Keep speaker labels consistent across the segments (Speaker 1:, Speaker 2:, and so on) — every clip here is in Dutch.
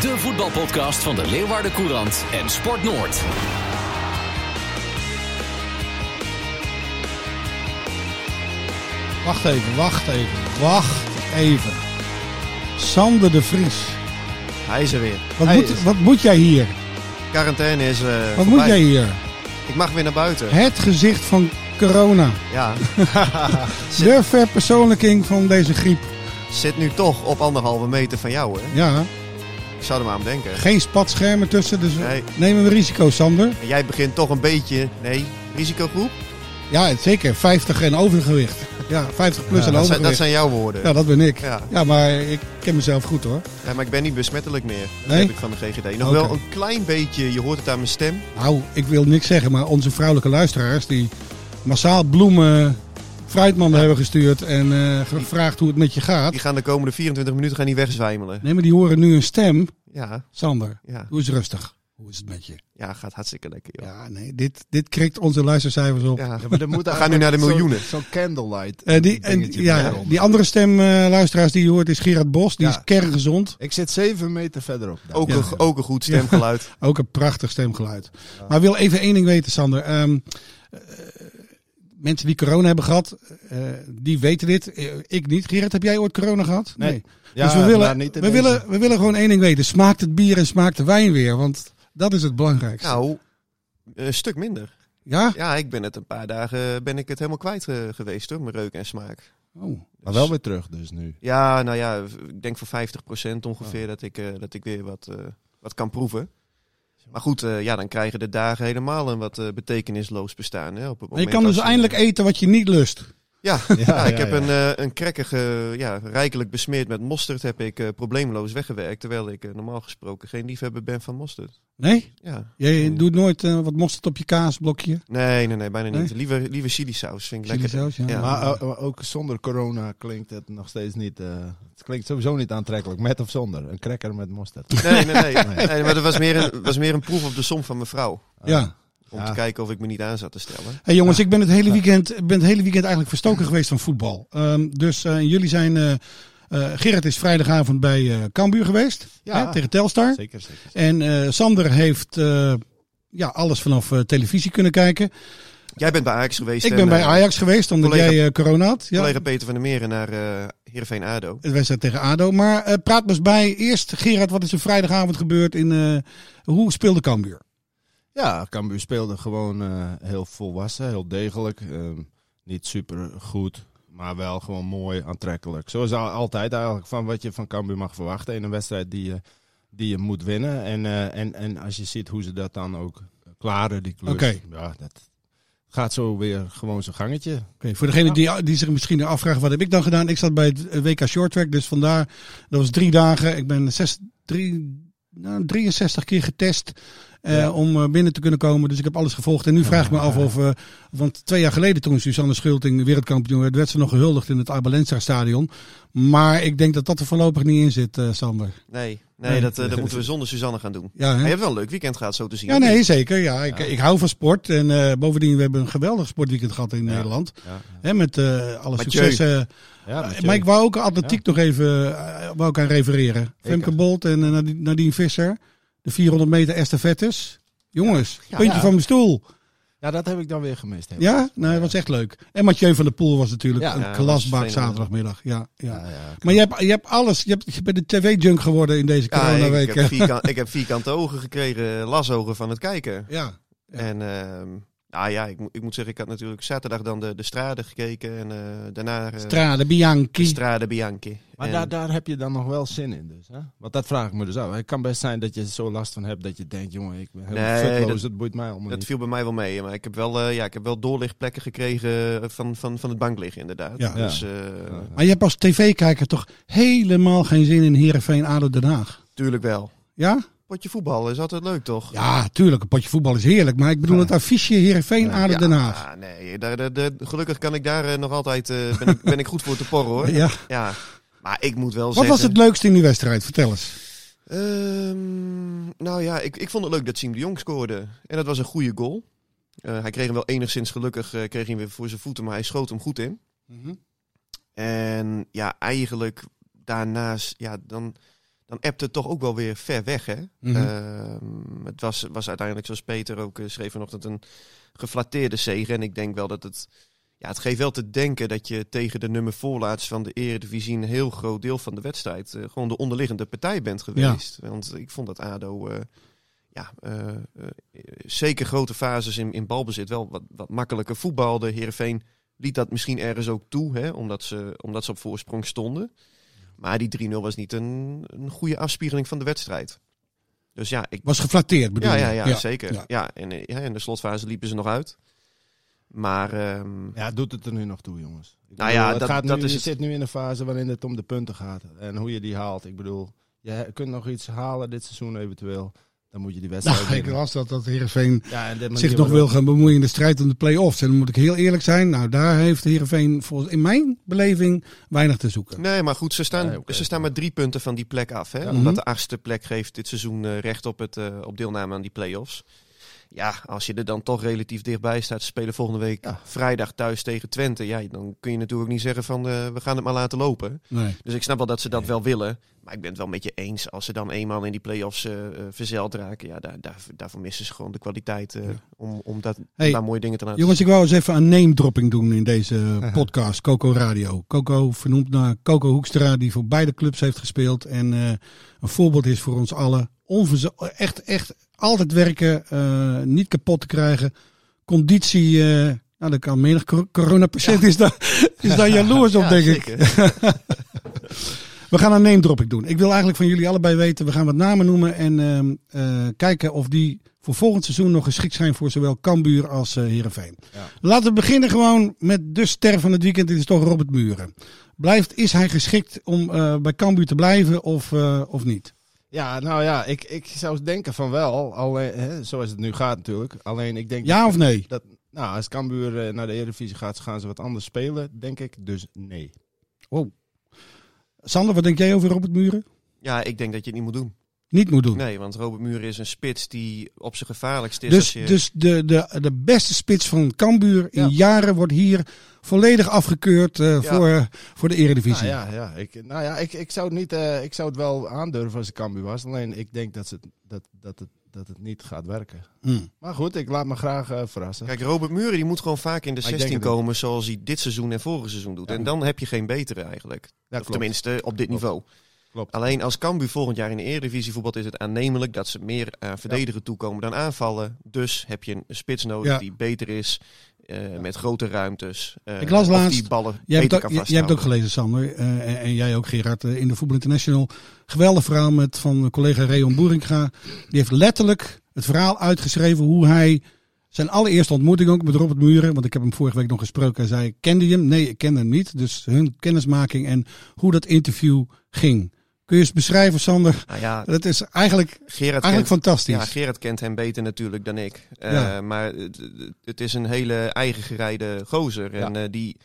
Speaker 1: De voetbalpodcast van de Leeuwarden Courant en Sport Noord.
Speaker 2: Wacht even, wacht even, wacht even. Sander de Vries.
Speaker 3: Hij is er weer.
Speaker 2: Wat,
Speaker 3: Hij
Speaker 2: moet,
Speaker 3: is-
Speaker 2: wat moet jij hier?
Speaker 3: Quarantaine is. eh,
Speaker 2: Wat
Speaker 3: voorbij.
Speaker 2: moet jij hier?
Speaker 3: Ik mag weer naar buiten.
Speaker 2: Het gezicht van corona.
Speaker 3: Ja. Zit-
Speaker 2: De verpersoonlijking van deze griep.
Speaker 3: Zit nu toch op anderhalve meter van jou, hè?
Speaker 2: Ja,
Speaker 3: Ik zou er maar aan denken.
Speaker 2: geen spatschermen tussen, dus
Speaker 3: Nee.
Speaker 2: nemen we risico, Sander.
Speaker 3: En jij begint toch een beetje. Nee, risicogroep?
Speaker 2: Ja, zeker. 50 en overgewicht. Ja, 50 plus en
Speaker 3: dat, zijn,
Speaker 2: overgewicht.
Speaker 3: dat zijn jouw woorden.
Speaker 2: Ja, dat ben ik.
Speaker 3: Ja.
Speaker 2: Ja, maar ik ken mezelf goed hoor.
Speaker 3: Ja, maar ik ben niet besmettelijk meer. Dat
Speaker 2: Nee?
Speaker 3: heb ik van de GGD. Nog
Speaker 2: Oké.
Speaker 3: wel een klein beetje, je hoort het aan mijn stem.
Speaker 2: Nou, ik wil niks zeggen, maar onze vrouwelijke luisteraars die massaal bloemen, fruitmanden hebben gestuurd en eh, gevraagd hoe het met je gaat.
Speaker 3: Die gaan de komende 24 minuten gaan niet wegzwijmelen.
Speaker 2: Nee, maar die horen nu een stem.
Speaker 3: Ja,
Speaker 2: Sander,
Speaker 3: ja.
Speaker 2: doe eens rustig. Hoe is het met je?
Speaker 3: Ja, gaat hartstikke lekker, joh.
Speaker 2: Ja, nee, dit, dit krikt onze luistercijfers op.
Speaker 3: Ja.
Speaker 4: Ja, maar dan moet
Speaker 3: We gaan nu naar de
Speaker 4: eigenlijk
Speaker 3: miljoenen.
Speaker 4: Zo'n zo'n candlelight.
Speaker 2: Eh, die, en,
Speaker 4: dingetje
Speaker 2: ja,
Speaker 4: erom.
Speaker 2: die andere stem eh, luisteraars die je hoort is Gerard Bos. Die
Speaker 4: Ja.
Speaker 2: is kerngezond.
Speaker 4: Ik zit zeven meter verderop. daar.
Speaker 3: Ook,
Speaker 2: Ja.
Speaker 3: een, ook een goed stemgeluid.
Speaker 2: Ook een prachtig stemgeluid. Maar ik wil even één ding weten, Sander. Ehm, eh, mensen die corona hebben gehad, eh, die weten dit. Eh, ik niet. Gerard, heb jij ooit corona gehad?
Speaker 4: Nee. Ja,
Speaker 2: dus we
Speaker 4: maar
Speaker 2: willen,
Speaker 4: niet in
Speaker 2: we,
Speaker 4: deze.
Speaker 2: willen, we willen gewoon één ding weten. Smaakt het bier en smaakt de wijn weer? Want dat is het belangrijkste.
Speaker 3: nou, een stuk minder.
Speaker 2: ja?
Speaker 3: Ja, ik ben het een paar dagen ben ik het helemaal kwijt eh, geweest hoor, mijn reuk en smaak.
Speaker 2: Oh.
Speaker 4: Maar wel weer terug dus nu.
Speaker 3: Ja, nou ja, v- ik denk voor 50% ongeveer
Speaker 2: Oh.
Speaker 3: dat, ik, eh, dat ik weer wat, eh, wat kan proeven. Maar goed, eh, ja, dan krijgen de dagen helemaal een wat eh, betekenisloos bestaan. Hè, op het
Speaker 2: Maar je
Speaker 3: moment
Speaker 2: kan
Speaker 3: als
Speaker 2: dus eindelijk eten wat je niet lust.
Speaker 3: Ja,
Speaker 4: Ja,
Speaker 3: ja, ik
Speaker 4: ja,
Speaker 3: heb
Speaker 4: ja.
Speaker 3: een, eh een krekkige, ja, rijkelijk besmeerd met mosterd heb ik eh, probleemloos weggewerkt. Terwijl ik eh, normaal gesproken geen liefhebber ben van mosterd.
Speaker 2: Nee?
Speaker 3: Ja.
Speaker 2: Je doet nooit eh, wat mosterd op je kaasblokje?
Speaker 3: Nee, nee, nee, bijna niet.
Speaker 2: Nee?
Speaker 3: Liever, liever chilisaus vind ik lekker.
Speaker 2: Chilisaus, ja.
Speaker 3: Ja.
Speaker 4: Maar eh, maar ook zonder corona klinkt het nog steeds niet... eh, het klinkt sowieso niet aantrekkelijk, met of zonder. Een cracker met mosterd.
Speaker 3: Nee, nee, nee. nee maar dat was meer, een, was meer een proef op de som van mijn vrouw.
Speaker 4: Ah.
Speaker 2: ja.
Speaker 3: Om
Speaker 4: Ja.
Speaker 3: te kijken of ik me niet aan zat te stellen.
Speaker 2: Hey jongens, ik ben het hele weekend, ik ben het hele weekend eigenlijk verstoken geweest van voetbal. Ehm, dus eh, jullie zijn. eh eh, Gerrit is vrijdagavond bij eh Cambuur geweest.
Speaker 4: Ja.
Speaker 2: hè, tegen Telstar.
Speaker 4: Zeker, zeker.
Speaker 2: En eh, Sander heeft eh, ja, alles vanaf eh, televisie kunnen kijken.
Speaker 3: Jij bent bij Ajax geweest.
Speaker 2: Ik
Speaker 3: en,
Speaker 2: ben bij
Speaker 3: eh,
Speaker 2: Ajax geweest, omdat
Speaker 3: collega-
Speaker 2: jij eh, corona had. Ja,
Speaker 3: Collega Peter van der Meren naar eh Heerenveen ADO.
Speaker 2: het wedstrijd tegen ADO. Maar eh, praat me eens bij. Eerst Gerard, wat is er vrijdagavond gebeurd? In, eh, hoe speelde Cambuur?
Speaker 4: Ja, Cambuur speelde gewoon eh, heel volwassen, heel degelijk. Ehm, niet super goed, maar wel gewoon mooi, aantrekkelijk. Zoals al- altijd eigenlijk van wat je van Cambuur mag verwachten in een wedstrijd die je, die je moet winnen. En, eh, en, en als je ziet hoe ze dat dan ook klaren, die klus.
Speaker 2: Oké.
Speaker 4: Ja, dat gaat zo weer gewoon zijn gangetje.
Speaker 2: Oké, voor degene die, die zich misschien afvragen, wat heb ik dan gedaan? Ik zat bij het eh, WK Short Track, dus vandaar, dat was drie dagen. Ik ben zes, drie, nou, 63 keer getest eh,
Speaker 4: Ja.
Speaker 2: om eh, binnen te kunnen komen. Dus ik heb alles gevolgd. En nu vraag ik me af of, eh, want twee jaar geleden toen Suzanne Schulting wereldkampioen werd, werd ze nog gehuldigd in het Abelensa Stadion. Maar ik denk dat dat er voorlopig niet in zit, eh, Sander.
Speaker 3: Nee, nee,
Speaker 2: Nee.
Speaker 3: dat, eh, dat moeten we zonder Suzanne gaan doen.
Speaker 2: Ja,
Speaker 3: Maar
Speaker 2: hè?
Speaker 3: je hebt wel een leuk weekend gehad, zo te zien.
Speaker 2: ja
Speaker 3: of niet?
Speaker 2: nee, zeker. Ja, ik, ik hou van sport. En eh, bovendien, we hebben een geweldig sportweekend gehad in
Speaker 4: Ja.
Speaker 2: Nederland.
Speaker 4: Ja,
Speaker 2: Hè, met eh, alle
Speaker 3: Mathieu.
Speaker 2: successen.
Speaker 4: ja,
Speaker 2: Eh, maar ik wou ook atletiek nog even eh, wou ik aan refereren. Femke Bolt en eh, Nadine- Nadine Visser. De 400 meter estafettes. Jongens, puntje
Speaker 4: ja.
Speaker 2: van mijn stoel.
Speaker 4: ja, dat heb ik dan weer gemist. helemaal.
Speaker 2: Ja, nou, dat was echt leuk. En Mathieu van der Poel was natuurlijk
Speaker 4: Ja,
Speaker 2: een
Speaker 3: ja, dat
Speaker 2: klasbak
Speaker 3: was fenomenaal.
Speaker 2: zaterdagmiddag. Ja, ja.
Speaker 4: Ja, ja.
Speaker 2: Maar je hebt, je hebt alles. Je, hebt, je bent de tv-junk geworden in deze
Speaker 3: Ja, ik,
Speaker 2: coronaweek.
Speaker 3: heb vierkant, ik heb vierkante ogen gekregen, lasogen van het kijken.
Speaker 2: ja.
Speaker 3: En ehm, Nou ja, ik, moet- ik moet zeggen, ik had natuurlijk zaterdag dan de, de Strade gekeken en eh, daarna eh,
Speaker 2: Strade
Speaker 3: de
Speaker 2: Bianchi.
Speaker 3: Strade Bianchi.
Speaker 4: Maar
Speaker 3: En-
Speaker 4: daar, daar heb je dan nog wel zin in dus, hè? Want dat vraag ik me dus af. Het kan best zijn dat je er zo last van hebt dat je denkt, jongen, ik ben helemaal
Speaker 3: Nee,
Speaker 4: futloos, dat,
Speaker 3: dat-
Speaker 4: boeit mij allemaal
Speaker 3: Dat
Speaker 4: niet.
Speaker 3: viel bij mij wel mee, maar ik heb wel, eh, ja, ik heb wel doorlichtplekken gekregen eh, van, van, van het bankliggen inderdaad.
Speaker 2: Ja.
Speaker 3: dus, eh,
Speaker 2: Maar je hebt als tv-kijker toch helemaal geen zin in Heerenveen ADO Den Haag?
Speaker 3: Tuurlijk wel.
Speaker 2: Ja?
Speaker 3: Potje voetbal is altijd leuk, toch?
Speaker 2: Ja, tuurlijk. Een potje voetbal is heerlijk. Maar ik bedoel het affiche Heerenveen ADO
Speaker 3: Ja,
Speaker 2: Den Haag.
Speaker 3: ah, nee, daar, daar- daar- gelukkig kan ik daar eh, nog altijd, eh, ben, ik, ben ik goed voor te porren hoor.
Speaker 2: Ja.
Speaker 3: Ja, maar ik moet wel
Speaker 2: Wat
Speaker 3: zeggen...
Speaker 2: was het leukste in die wedstrijd? Vertel eens.
Speaker 3: Ehm, nou ja, ik, ik vond het leuk dat Siem de Jong scoorde. En dat was een goede goal. Eh, hij kreeg hem wel enigszins gelukkig eh, kreeg hij hem weer voor zijn voeten, maar hij schoot hem goed in. En ja, eigenlijk daarnaast, ja, dan, dan appt het toch ook wel weer ver weg, hè?
Speaker 2: Mhm.
Speaker 3: Ehm, het was, was uiteindelijk, zoals Peter ook eh, schreef vanochtend, een geflatteerde zege. En ik denk wel dat het... Ja, het geeft wel te denken dat je tegen de nummer voorlaatst van de Eredivisie... een heel groot deel van de wedstrijd eh, gewoon de onderliggende partij bent geweest. Want ik vond dat ADO... eh, ja, eh, eh, zeker grote fases in, in balbezit wel wat, wat makkelijker voetbalde. Heerenveen liet dat misschien ergens ook toe, hè, omdat, ze, omdat ze op voorsprong stonden. Maar die 3-0 was niet een, een goede afspiegeling van de wedstrijd. Dus ja, ik,
Speaker 2: Was geflatteerd bedoel
Speaker 3: ja, ja,
Speaker 2: je?
Speaker 3: ja, zeker. Ja.
Speaker 2: ja.
Speaker 3: en eh, ja, in de slotfase liepen ze nog uit. Maar ehm,
Speaker 4: Ja, doet het er nu nog toe, jongens. Ik
Speaker 3: Nou ja,
Speaker 4: het
Speaker 3: dat-
Speaker 4: gaat nu,
Speaker 3: dat is
Speaker 4: je
Speaker 3: het.
Speaker 4: zit nu in een fase waarin het om de punten gaat. En hoe je die haalt. Ik bedoel, je kunt nog iets halen dit seizoen eventueel. Dan moet je die wedstrijd
Speaker 2: Nou, ik
Speaker 4: winnen.
Speaker 2: las dat, dat Heerenveen
Speaker 4: Ja, en de manier
Speaker 2: zich nog
Speaker 4: waarop-
Speaker 2: wil gaan bemoeien in de strijd om de play-offs. En dan moet ik heel eerlijk zijn. Nou, daar heeft Heerenveen volgens, in mijn beleving weinig te zoeken.
Speaker 3: nee, maar goed, ze staan,
Speaker 4: Nee, oké.
Speaker 3: ze staan maar drie punten van die plek af. Hè?
Speaker 4: Ja.
Speaker 3: Omdat
Speaker 2: Mhm.
Speaker 3: de achtste plek geeft dit seizoen eh, recht op, het, eh, op deelname aan die play-offs. Ja, als je er dan toch relatief dichtbij staat, ze spelen volgende week
Speaker 4: Ja.
Speaker 3: vrijdag thuis tegen Twente. Ja, dan kun je natuurlijk niet zeggen van eh, we gaan het maar laten lopen.
Speaker 2: Nee.
Speaker 3: Dus ik snap wel dat ze dat wel willen. Maar ik ben het wel met je eens. Als ze dan eenmaal in die play-offs eh, eh, verzeild raken. Ja, daar, daar, daarvoor missen ze gewoon de kwaliteit eh, om, om, dat, om
Speaker 2: Hey,
Speaker 3: daar mooie dingen te laten
Speaker 2: Jongens, ik wou eens even een name-dropping doen in deze podcast, Coco Radio. Coco, vernoemd naar Coco Hoekstra, die voor beide clubs heeft gespeeld. En eh, een voorbeeld is voor ons allen. Onverzo- echt, echt altijd werken, eh, niet kapot te krijgen. Conditie, eh, nou, dat kan menig cor- coronapatiënt is, daar, is daar jaloers op,
Speaker 3: Ja,
Speaker 2: denk ik.
Speaker 3: zeker.
Speaker 2: We gaan een name-dropping doen. Ik wil eigenlijk van jullie allebei weten, we gaan wat namen noemen en ehm, eh, kijken of die voor volgend seizoen nog geschikt zijn voor zowel Cambuur als eh Heerenveen.
Speaker 4: Ja.
Speaker 2: Laten we beginnen gewoon met de ster van het weekend, dit is toch Robert Muren. Blijft, is hij geschikt om eh, bij Cambuur te blijven of, eh, of niet?
Speaker 4: Ja, nou ja, ik, ik zou denken van wel. Alleen, hè, zoals het nu gaat natuurlijk. Alleen ik denk...
Speaker 2: Ja of nee?
Speaker 4: Dat, nou, als Cambuur eh, naar de Eredivisie gaat, gaan ze wat anders spelen, denk ik. Dus nee.
Speaker 2: Sander, wat denk jij over Robert Muren?
Speaker 3: Ja, ik denk dat je het niet moet doen.
Speaker 2: Niet moet doen.
Speaker 3: Nee, want Robert Muur is een spits die op zijn gevaarlijkst is.
Speaker 2: Dus,
Speaker 3: als je,
Speaker 2: dus de, de, de beste spits van Cambuur in
Speaker 4: Ja.
Speaker 2: jaren wordt hier volledig afgekeurd eh, voor, voor de Eredivisie.
Speaker 4: Nou ja, ja, ik, nou ja ik, ik, zou het niet, eh, ik zou het wel aandurven als ik Cambuur was. Alleen ik denk dat, ze, het- dat, dat, het, dat het niet gaat werken.
Speaker 2: Hmm.
Speaker 4: Maar goed, ik laat me graag eh, verrassen.
Speaker 3: Kijk, Robert Muren die moet gewoon vaak in de
Speaker 4: Maar ik
Speaker 3: 16
Speaker 4: denk het
Speaker 3: komen zoals hij dit seizoen en vorig seizoen doet.
Speaker 4: Ja.
Speaker 3: En dan heb je geen betere eigenlijk.
Speaker 4: Ja,
Speaker 3: of
Speaker 4: klopt.
Speaker 3: tenminste Ah, op dit
Speaker 4: Klopt.
Speaker 3: niveau.
Speaker 4: Klopt.
Speaker 3: Alleen als Cambuur volgend jaar in de Eredivisie voetbalt is het aannemelijk dat ze meer aan verdedigen toekomen dan aanvallen. Dus heb je een spits nodig
Speaker 2: Ja.
Speaker 3: die beter is, eh, met grote ruimtes. eh,
Speaker 2: Ik las
Speaker 3: of
Speaker 2: laatst,
Speaker 3: die ballen
Speaker 2: Jij hebt,
Speaker 3: beter
Speaker 2: ook,
Speaker 3: kan
Speaker 2: jij- jij hebt ook gelezen,
Speaker 3: vasthouden.
Speaker 2: Sander, eh, en, en jij ook, Gerard, eh, in de Voetbal International. Geweldig verhaal met, van collega Reon Boeringa. Die heeft letterlijk het verhaal uitgeschreven hoe hij zijn allereerste ontmoeting ook met Robert Muren. Want ik heb hem vorige week nog gesproken. Hij zei, kende je hem? Nee, ik kende hem niet. Dus hun kennismaking en hoe dat interview ging. Kun je eens beschrijven, Sander?
Speaker 3: Nou ja,
Speaker 2: Dat is eigenlijk,
Speaker 3: Gerard
Speaker 2: eigenlijk
Speaker 3: kent,
Speaker 2: fantastisch.
Speaker 3: ja, Gerard kent hem beter natuurlijk dan ik. Eh,
Speaker 2: Ja.
Speaker 3: Maar het, het is een hele eigen gerijde gozer.
Speaker 4: Ja.
Speaker 3: En eh, die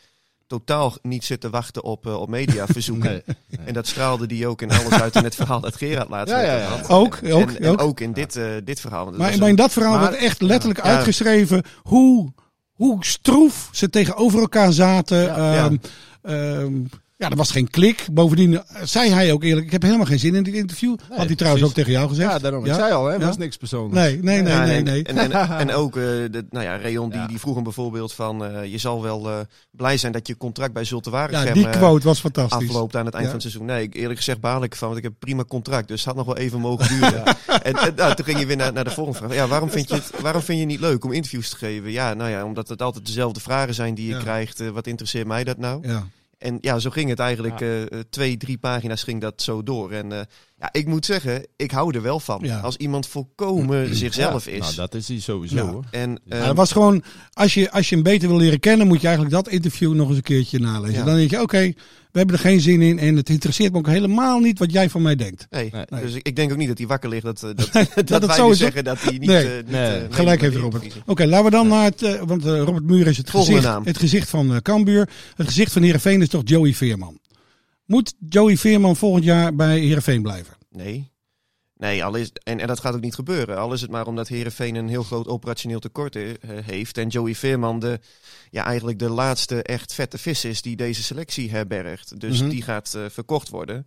Speaker 3: totaal niet zit te wachten op, eh, op mediaverzoeken.
Speaker 4: Nee.
Speaker 3: En dat straalde die ook in alles uit in het verhaal dat Gerard laatst
Speaker 4: Ja,
Speaker 3: met
Speaker 4: ja,
Speaker 3: hem
Speaker 4: ja.
Speaker 3: had.
Speaker 2: Ook,
Speaker 3: En-
Speaker 2: ook,
Speaker 3: en,
Speaker 2: ook.
Speaker 3: in dit, eh, dit verhaal. want het
Speaker 2: Maar,
Speaker 3: was
Speaker 2: maar in dat verhaal
Speaker 4: maar-
Speaker 2: werd echt letterlijk
Speaker 3: Ja.
Speaker 2: uitgeschreven hoe, hoe stroef ze tegenover elkaar zaten.
Speaker 4: Ja.
Speaker 2: Ehm, ehm, Ja, er was geen klik. Bovendien eh, zei hij ook eerlijk, ik heb helemaal geen zin in dit interview. Had hij trouwens ook
Speaker 4: precies.
Speaker 2: tegen jou gezegd.
Speaker 4: Ja, daarom.
Speaker 2: Ja?
Speaker 4: Ik zei al, hè,
Speaker 2: Ja?
Speaker 4: was niks persoonlijks.
Speaker 2: Nee, nee, nee,
Speaker 3: Ja,
Speaker 2: nee,
Speaker 3: en-
Speaker 2: nee.
Speaker 3: En, en, en ook, eh, de, nou ja, Rayon die,
Speaker 4: Ja.
Speaker 3: die vroeg hem bijvoorbeeld van... eh, je zal wel eh, blij zijn dat je contract bij Zulte
Speaker 2: Ja,
Speaker 3: Waregem
Speaker 2: die
Speaker 3: eh,
Speaker 2: quote was fantastisch.
Speaker 3: afloopt aan het eind
Speaker 2: Ja.
Speaker 3: van het seizoen. Nee, ik, eerlijk gezegd baal ik van, want ik heb een prima contract. Dus het had nog wel even mogen duren. En, en, nou, toen ging je weer naar, naar de volgende vraag. Ja, waarom vind, je het, waarom vind je het niet leuk om interviews te geven? Ja, nou ja, omdat het altijd dezelfde vragen zijn die je
Speaker 2: Ja.
Speaker 3: krijgt. Eh, wat interesseert mij dat nou?
Speaker 2: Ja.
Speaker 3: En ja, zo ging het eigenlijk. eh, eh, twee, drie pagina's ging dat zo door. En eh, ja, ik moet zeggen, ik hou er wel van.
Speaker 2: Ja.
Speaker 3: Als iemand volkomen zichzelf
Speaker 4: Ja,
Speaker 3: is.
Speaker 4: Nou, dat is hij sowieso
Speaker 2: Ja.
Speaker 4: hoor.
Speaker 3: En
Speaker 2: Ja,
Speaker 3: ehm,
Speaker 2: dat was gewoon, als je, als je hem beter wil leren kennen, moet je eigenlijk dat interview nog eens een keertje nalezen.
Speaker 3: Ja.
Speaker 2: Dan denk je, oké, we hebben er geen zin in en het interesseert me ook helemaal niet wat jij van mij denkt.
Speaker 3: nee,
Speaker 4: Nee.
Speaker 3: dus ik ik denk ook niet dat hij wakker ligt. Dat, eh, dat, dat,
Speaker 2: dat
Speaker 3: wij
Speaker 2: zo
Speaker 3: nu
Speaker 2: is, hoor.
Speaker 3: zeggen dat hij niet...
Speaker 2: Nee.
Speaker 3: eh, niet,
Speaker 4: Nee.
Speaker 3: eh,
Speaker 4: Gelijk
Speaker 3: meedoet met
Speaker 2: Gelijk heeft
Speaker 3: die
Speaker 2: Robert.
Speaker 3: interviews.
Speaker 2: Oké, laten we dan naar het, eh, want eh, Robert Muur is het
Speaker 3: Volgende
Speaker 2: gezicht,
Speaker 3: naam.
Speaker 2: het gezicht van eh, Cambuur. het gezicht van Heerenveen is toch Joey Veerman. Moet Joey Veerman volgend jaar bij Heerenveen blijven?
Speaker 3: Nee. Nee, al is, en, en dat gaat ook niet gebeuren. Al is het maar omdat Herenveen een heel groot operationeel tekort eh, heeft. En Joey Veerman de, ja, eigenlijk de laatste echt vette vis is die deze selectie herbergt. Dus
Speaker 2: Mhm.
Speaker 3: die gaat eh, verkocht worden.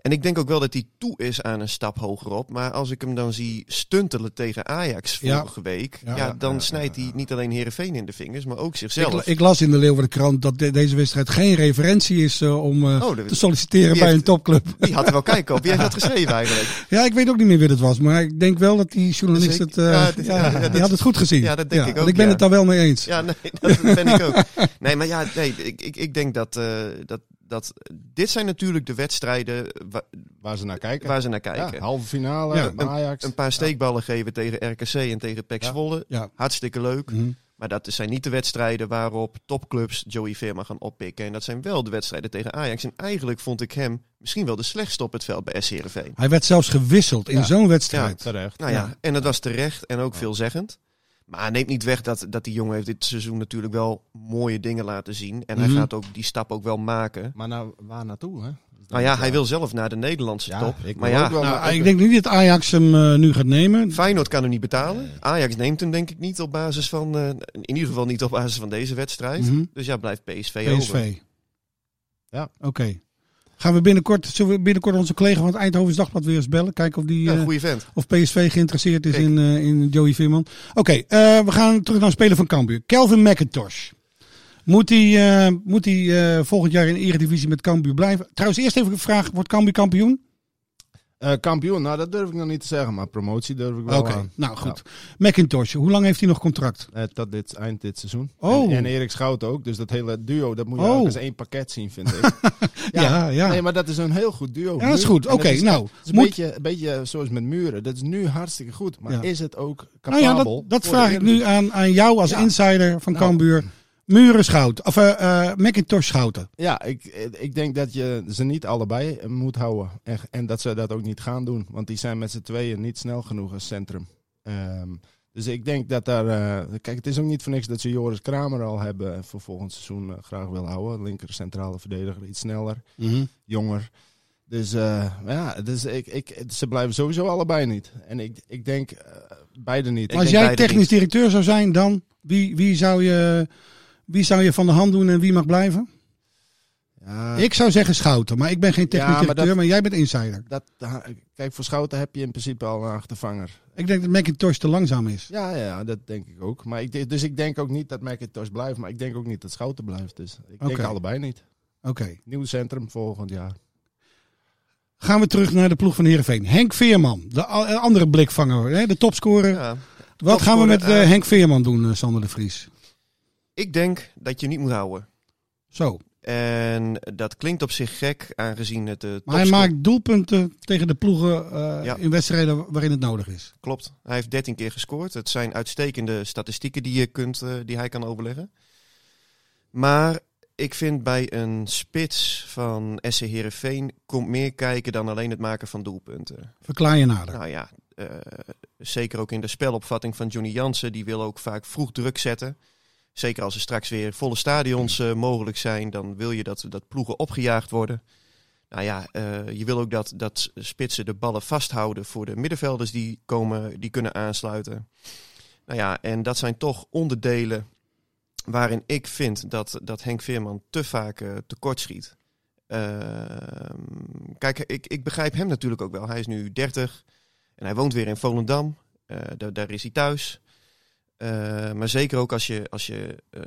Speaker 3: En ik denk ook wel dat hij toe is aan een stap hogerop. Maar als ik hem dan zie stuntelen tegen Ajax
Speaker 2: Ja.
Speaker 3: vorige week.
Speaker 2: Ja.
Speaker 3: Ja, dan snijdt hij niet alleen Herenveen in de vingers, maar ook zichzelf.
Speaker 2: Ik, ik las in de Leeuwarden krant dat de- deze wedstrijd geen referentie is eh, om eh,
Speaker 3: Oh, dat-
Speaker 2: te solliciteren
Speaker 3: die
Speaker 2: bij
Speaker 3: heeft-
Speaker 2: een topclub.
Speaker 3: Die had er wel kijken op. Wie heeft dat geschreven eigenlijk?
Speaker 2: Ja, ik weet ook niet meer wie dat was, maar ik denk wel dat die journalist
Speaker 3: Zeker.
Speaker 2: het, eh,
Speaker 3: Ja, dit-
Speaker 2: ja,
Speaker 3: ja,
Speaker 2: die
Speaker 3: dat-
Speaker 2: had het goed gezien.
Speaker 3: Ja, dat denk ik
Speaker 2: want
Speaker 3: ook,
Speaker 2: Ik ben
Speaker 3: ja.
Speaker 2: het daar wel mee eens.
Speaker 3: Ja, nee, dat ben ik ook. Nee, maar ja, nee, ik, ik, ik denk dat, eh, dat, dat... Dit zijn natuurlijk de wedstrijden wa-
Speaker 4: Waar ze naar kijken.
Speaker 3: waar ze naar kijken.
Speaker 4: ja, halve finale,
Speaker 2: Ja,
Speaker 4: bij Ajax.
Speaker 3: Een paar steekballen geven tegen RKC en tegen PEC
Speaker 4: Ja.
Speaker 3: Zwolle.
Speaker 2: Ja.
Speaker 3: Hartstikke leuk.
Speaker 2: Mhm.
Speaker 3: Maar dat zijn niet de wedstrijden waarop topclubs Joey Veerman gaan oppikken. En dat zijn wel de wedstrijden tegen Ajax. En eigenlijk vond ik hem misschien wel de slechtste op het veld bij SC Heerenveen.
Speaker 2: Hij werd zelfs gewisseld in
Speaker 4: Ja.
Speaker 2: zo'n
Speaker 4: ja,
Speaker 2: wedstrijd.
Speaker 4: terecht.
Speaker 3: Nou ja,
Speaker 2: Ja.
Speaker 3: en dat was terecht en ook veelzeggend. Maar neemt niet weg dat, dat die jongen heeft dit seizoen natuurlijk wel mooie dingen laten zien. En
Speaker 2: Mhm.
Speaker 3: hij gaat ook die stap ook wel maken.
Speaker 4: Maar nou, waar naartoe? Hè?
Speaker 3: Nou ja, hij wil zelf naar de Nederlandse
Speaker 4: eh, Ja,
Speaker 3: top.
Speaker 4: ik
Speaker 3: Maar
Speaker 4: wil
Speaker 3: ja,
Speaker 4: ook wel
Speaker 2: Nou,
Speaker 4: naar-
Speaker 2: ik denk niet dat Ajax hem eh, nu gaat nemen.
Speaker 3: Feyenoord kan hem niet betalen. Ajax neemt hem denk ik niet op basis van... eh, in ieder geval niet op basis van deze wedstrijd.
Speaker 2: Mhm.
Speaker 3: Dus ja, blijft PSV, over.
Speaker 2: PSV.
Speaker 4: Ja.
Speaker 2: Oké. Gaan we binnenkort, zullen we binnenkort onze collega van het Eindhoven's Dagblad weer eens bellen? Kijken of, die,
Speaker 3: Ja,
Speaker 2: eh,
Speaker 3: goede vent.
Speaker 2: of PSV geïnteresseerd is
Speaker 3: Kijk.
Speaker 2: in, eh, in Joey Veerman. Oké, eh, we gaan terug naar een speler van Cambuur. Kelvin McIntosh. Moet hij eh, moet hij eh, volgend jaar in de Eredivisie met Cambuur blijven? Trouwens, eerst even een vraag. Wordt Cambuur kampioen?
Speaker 4: Eh, kampioen, nou dat durf ik nog niet te zeggen, maar promotie durf ik
Speaker 2: Oké,
Speaker 4: wel aan.
Speaker 2: nou goed. McIntosh, hoe lang heeft hij nog contract?
Speaker 4: Eh, tot dit, eind dit seizoen.
Speaker 2: Oh.
Speaker 4: En, en Erik Schout ook, dus dat hele duo, dat moet je
Speaker 2: Oh.
Speaker 4: ook eens één pakket zien, vind ik.
Speaker 2: Ja, ja. ja.
Speaker 4: Nee, maar dat is een heel goed duo.
Speaker 2: dat is
Speaker 4: nu.
Speaker 2: goed.
Speaker 4: En dat
Speaker 2: Oké,
Speaker 4: is-
Speaker 2: nou.
Speaker 4: Het is een,
Speaker 2: Moet,
Speaker 4: beetje, een beetje zoals met muren. Dat is nu hartstikke goed. Maar
Speaker 2: Ja.
Speaker 4: is het ook
Speaker 2: nou
Speaker 4: capabel?
Speaker 2: ja, dat, dat
Speaker 4: voor de
Speaker 2: vraag ik nu
Speaker 4: Eredivisie?
Speaker 2: aan, aan jou als
Speaker 4: Ja.
Speaker 2: insider van
Speaker 4: Nou.
Speaker 2: Cambuur. Muren Schout, of eh, eh, McIntosh Schouten.
Speaker 4: Ja, ik, ik denk dat je ze niet allebei moet houden. En, en dat ze dat ook niet gaan doen. Want die zijn met z'n tweeën niet snel genoeg als centrum. Ehm, dus ik denk dat daar... eh, kijk, het is ook niet voor niks dat ze Joris Kramer al hebben... voor volgend seizoen eh, graag wil houden. Linker centrale verdediger, iets sneller, jonger. Dus eh, ja, dus ik, ik, ze blijven sowieso allebei niet. En ik, ik denk eh, beide niet.
Speaker 3: Ik
Speaker 2: Als
Speaker 3: denk
Speaker 2: jij
Speaker 3: beide
Speaker 2: technisch
Speaker 3: niet.
Speaker 2: directeur zou zijn, dan wie, wie, zou je, wie zou je van de hand doen en wie mag blijven?
Speaker 4: Ja,
Speaker 2: Ik zou zeggen Schouten, maar ik ben geen technisch
Speaker 4: Ja, maar
Speaker 2: directeur,
Speaker 4: dat-
Speaker 2: maar jij bent insider.
Speaker 4: dat, kijk, voor Schouten heb je in principe al een achtervanger.
Speaker 2: Ik denk dat McIntosh te langzaam is.
Speaker 4: Ja, ja, dat denk ik ook. Maar ik, de- dus ik denk ook niet dat McIntosh blijft. Maar ik denk ook niet dat Schouten blijft. Dus ik
Speaker 2: Oké.
Speaker 4: denk allebei niet.
Speaker 2: Oké.
Speaker 4: Nieuw centrum volgend jaar.
Speaker 2: Gaan we terug naar de ploeg van Heerenveen. Henk Veerman, de a- eh, andere blikvanger, hè, de topscorer.
Speaker 3: Ja.
Speaker 2: Wat gaan we
Speaker 3: topscorer,
Speaker 2: met eh,
Speaker 3: eh,
Speaker 2: Henk Veerman doen, eh, Sander de Vries?
Speaker 3: Ik denk dat je niet moet houden.
Speaker 2: Zo.
Speaker 3: En dat klinkt op zich gek, aangezien het eh
Speaker 2: Maar hij
Speaker 3: topscorer-
Speaker 2: maakt doelpunten tegen de ploegen eh,
Speaker 3: Ja.
Speaker 2: in wedstrijden waarin het nodig is.
Speaker 3: Klopt. Hij heeft 13 keer gescoord. Het zijn uitstekende statistieken die, je kunt, eh, die hij kan overleggen. Maar ik vind bij een spits van SC Heerenveen komt meer kijken dan alleen het maken van doelpunten.
Speaker 2: Verklaar je nader.
Speaker 3: Nou ja, eh, zeker ook in de spelopvatting van Johnny Jansen. Die wil ook vaak vroeg druk zetten. Zeker als er straks weer volle stadions eh, mogelijk zijn, dan wil je dat, dat ploegen opgejaagd worden. Nou ja, eh, je wil ook dat, dat spitsen de ballen vasthouden voor de middenvelders die, komen, die kunnen aansluiten. Nou ja, en dat zijn toch onderdelen waarin ik vind dat, dat Henk Veerman te vaak eh, tekort schiet. Ehm, kijk, ik, ik begrijp hem natuurlijk ook wel. Hij is nu 30 en hij woont weer in Volendam. Eh, daar, daar is hij thuis. Eh, maar zeker ook als je, als je eh,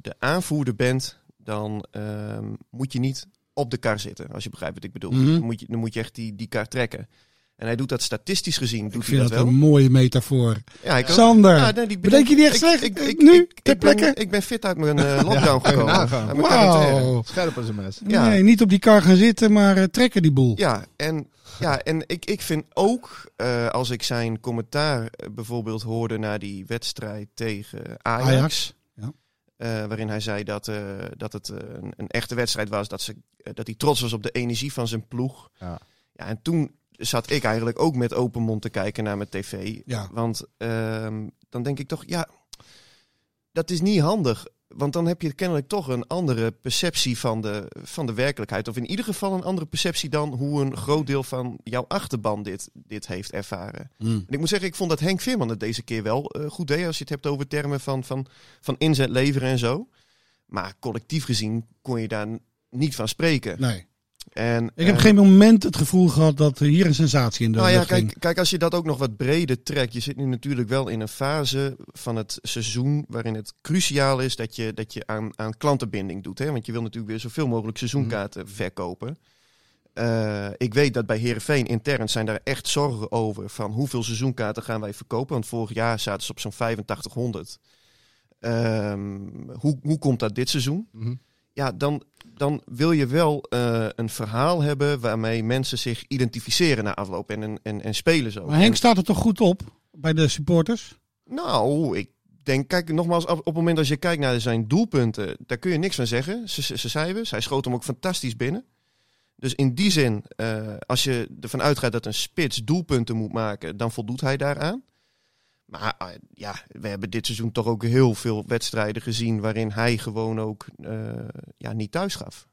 Speaker 3: de aanvoerder bent, dan ehm, moet je niet op de kar zitten. Als je begrijpt wat ik bedoel.
Speaker 2: Mhm.
Speaker 3: dan, moet je, dan moet je echt die, die kar trekken. En hij doet dat statistisch gezien. Doet
Speaker 2: Ik vind
Speaker 3: hij
Speaker 2: dat
Speaker 3: dat wel?
Speaker 2: een mooie metafoor.
Speaker 3: Ja, ik ook.
Speaker 2: Sander,
Speaker 3: Ja, nee, die
Speaker 2: bedenk je die echt
Speaker 3: ik-
Speaker 2: slecht?
Speaker 3: ik- ik-
Speaker 2: nu,
Speaker 3: ik-
Speaker 2: ter
Speaker 3: ik ben-
Speaker 2: plekke? nou
Speaker 3: Ik ben fit uit mijn eh, lockdown
Speaker 4: kan je
Speaker 3: gekomen.
Speaker 4: nagaan.
Speaker 3: Uit mijn quarantaine.
Speaker 2: Wauw.
Speaker 4: Scherp als een mes.
Speaker 3: Ja.
Speaker 2: Nee, niet op die kar gaan zitten, maar eh, trekken die boel.
Speaker 3: Ja, en, ja, en ik, ik vind ook, eh, als ik zijn commentaar eh, bijvoorbeeld hoorde na die wedstrijd tegen Ajax,
Speaker 2: Ajax, ja.
Speaker 3: eh, waarin hij zei dat, eh, dat het eh, een, een echte wedstrijd was, dat, ze, eh, dat hij trots was op de energie van zijn ploeg.
Speaker 4: Ja.
Speaker 3: Ja, en toen zat ik eigenlijk ook met open mond te kijken naar mijn tv.
Speaker 2: Ja.
Speaker 3: Want ehm, dan denk ik toch, ja, dat is niet handig. Want dan heb je kennelijk toch een andere perceptie van de, van de werkelijkheid. Of in ieder geval een andere perceptie dan hoe een groot deel van jouw achterban dit, dit heeft ervaren.
Speaker 2: Hm.
Speaker 3: En ik moet zeggen, ik vond dat Henk Veerman het deze keer wel eh, goed deed. Als je het hebt over termen van, van, van inzet leveren en zo. Maar collectief gezien kon je daar n- niet van spreken.
Speaker 2: Nee.
Speaker 3: En,
Speaker 2: Ik heb
Speaker 3: eh,
Speaker 2: geen moment het gevoel gehad dat hier een sensatie in de
Speaker 3: nou ja,
Speaker 2: lucht ging.
Speaker 3: kijk, kijk, als je dat ook nog wat breder trekt. Je zit nu natuurlijk wel in een fase van het seizoen. waarin het cruciaal is dat je, dat je aan, aan klantenbinding doet. Hè? Want je wil natuurlijk weer zoveel mogelijk seizoenkaarten
Speaker 2: Mhm.
Speaker 3: verkopen. Eh, ik weet dat bij Herenveen intern zijn daar echt zorgen over. van hoeveel seizoenkaarten gaan wij verkopen. Want vorig jaar zaten ze op zo'n 8500. Ehm, hoe, hoe komt dat dit seizoen?
Speaker 4: Mhm.
Speaker 3: ja, dan, dan wil je wel eh, een verhaal hebben waarmee mensen zich identificeren na afloop en, en, en, en spelen zo.
Speaker 2: Maar Henk staat er toch goed op bij de supporters?
Speaker 3: Nou, ik denk, kijk nogmaals, op op het moment als je kijkt naar zijn doelpunten, daar kun je niks van zeggen. Ze- Ze ze cijfers, hij schoot hem ook fantastisch binnen. Dus in die zin, eh, als je ervan uitgaat dat een spits doelpunten moet maken, dan voldoet hij daaraan. Maar eh, ja, we hebben dit seizoen toch ook heel veel wedstrijden gezien waarin hij gewoon ook eh, ja, niet thuis gaf.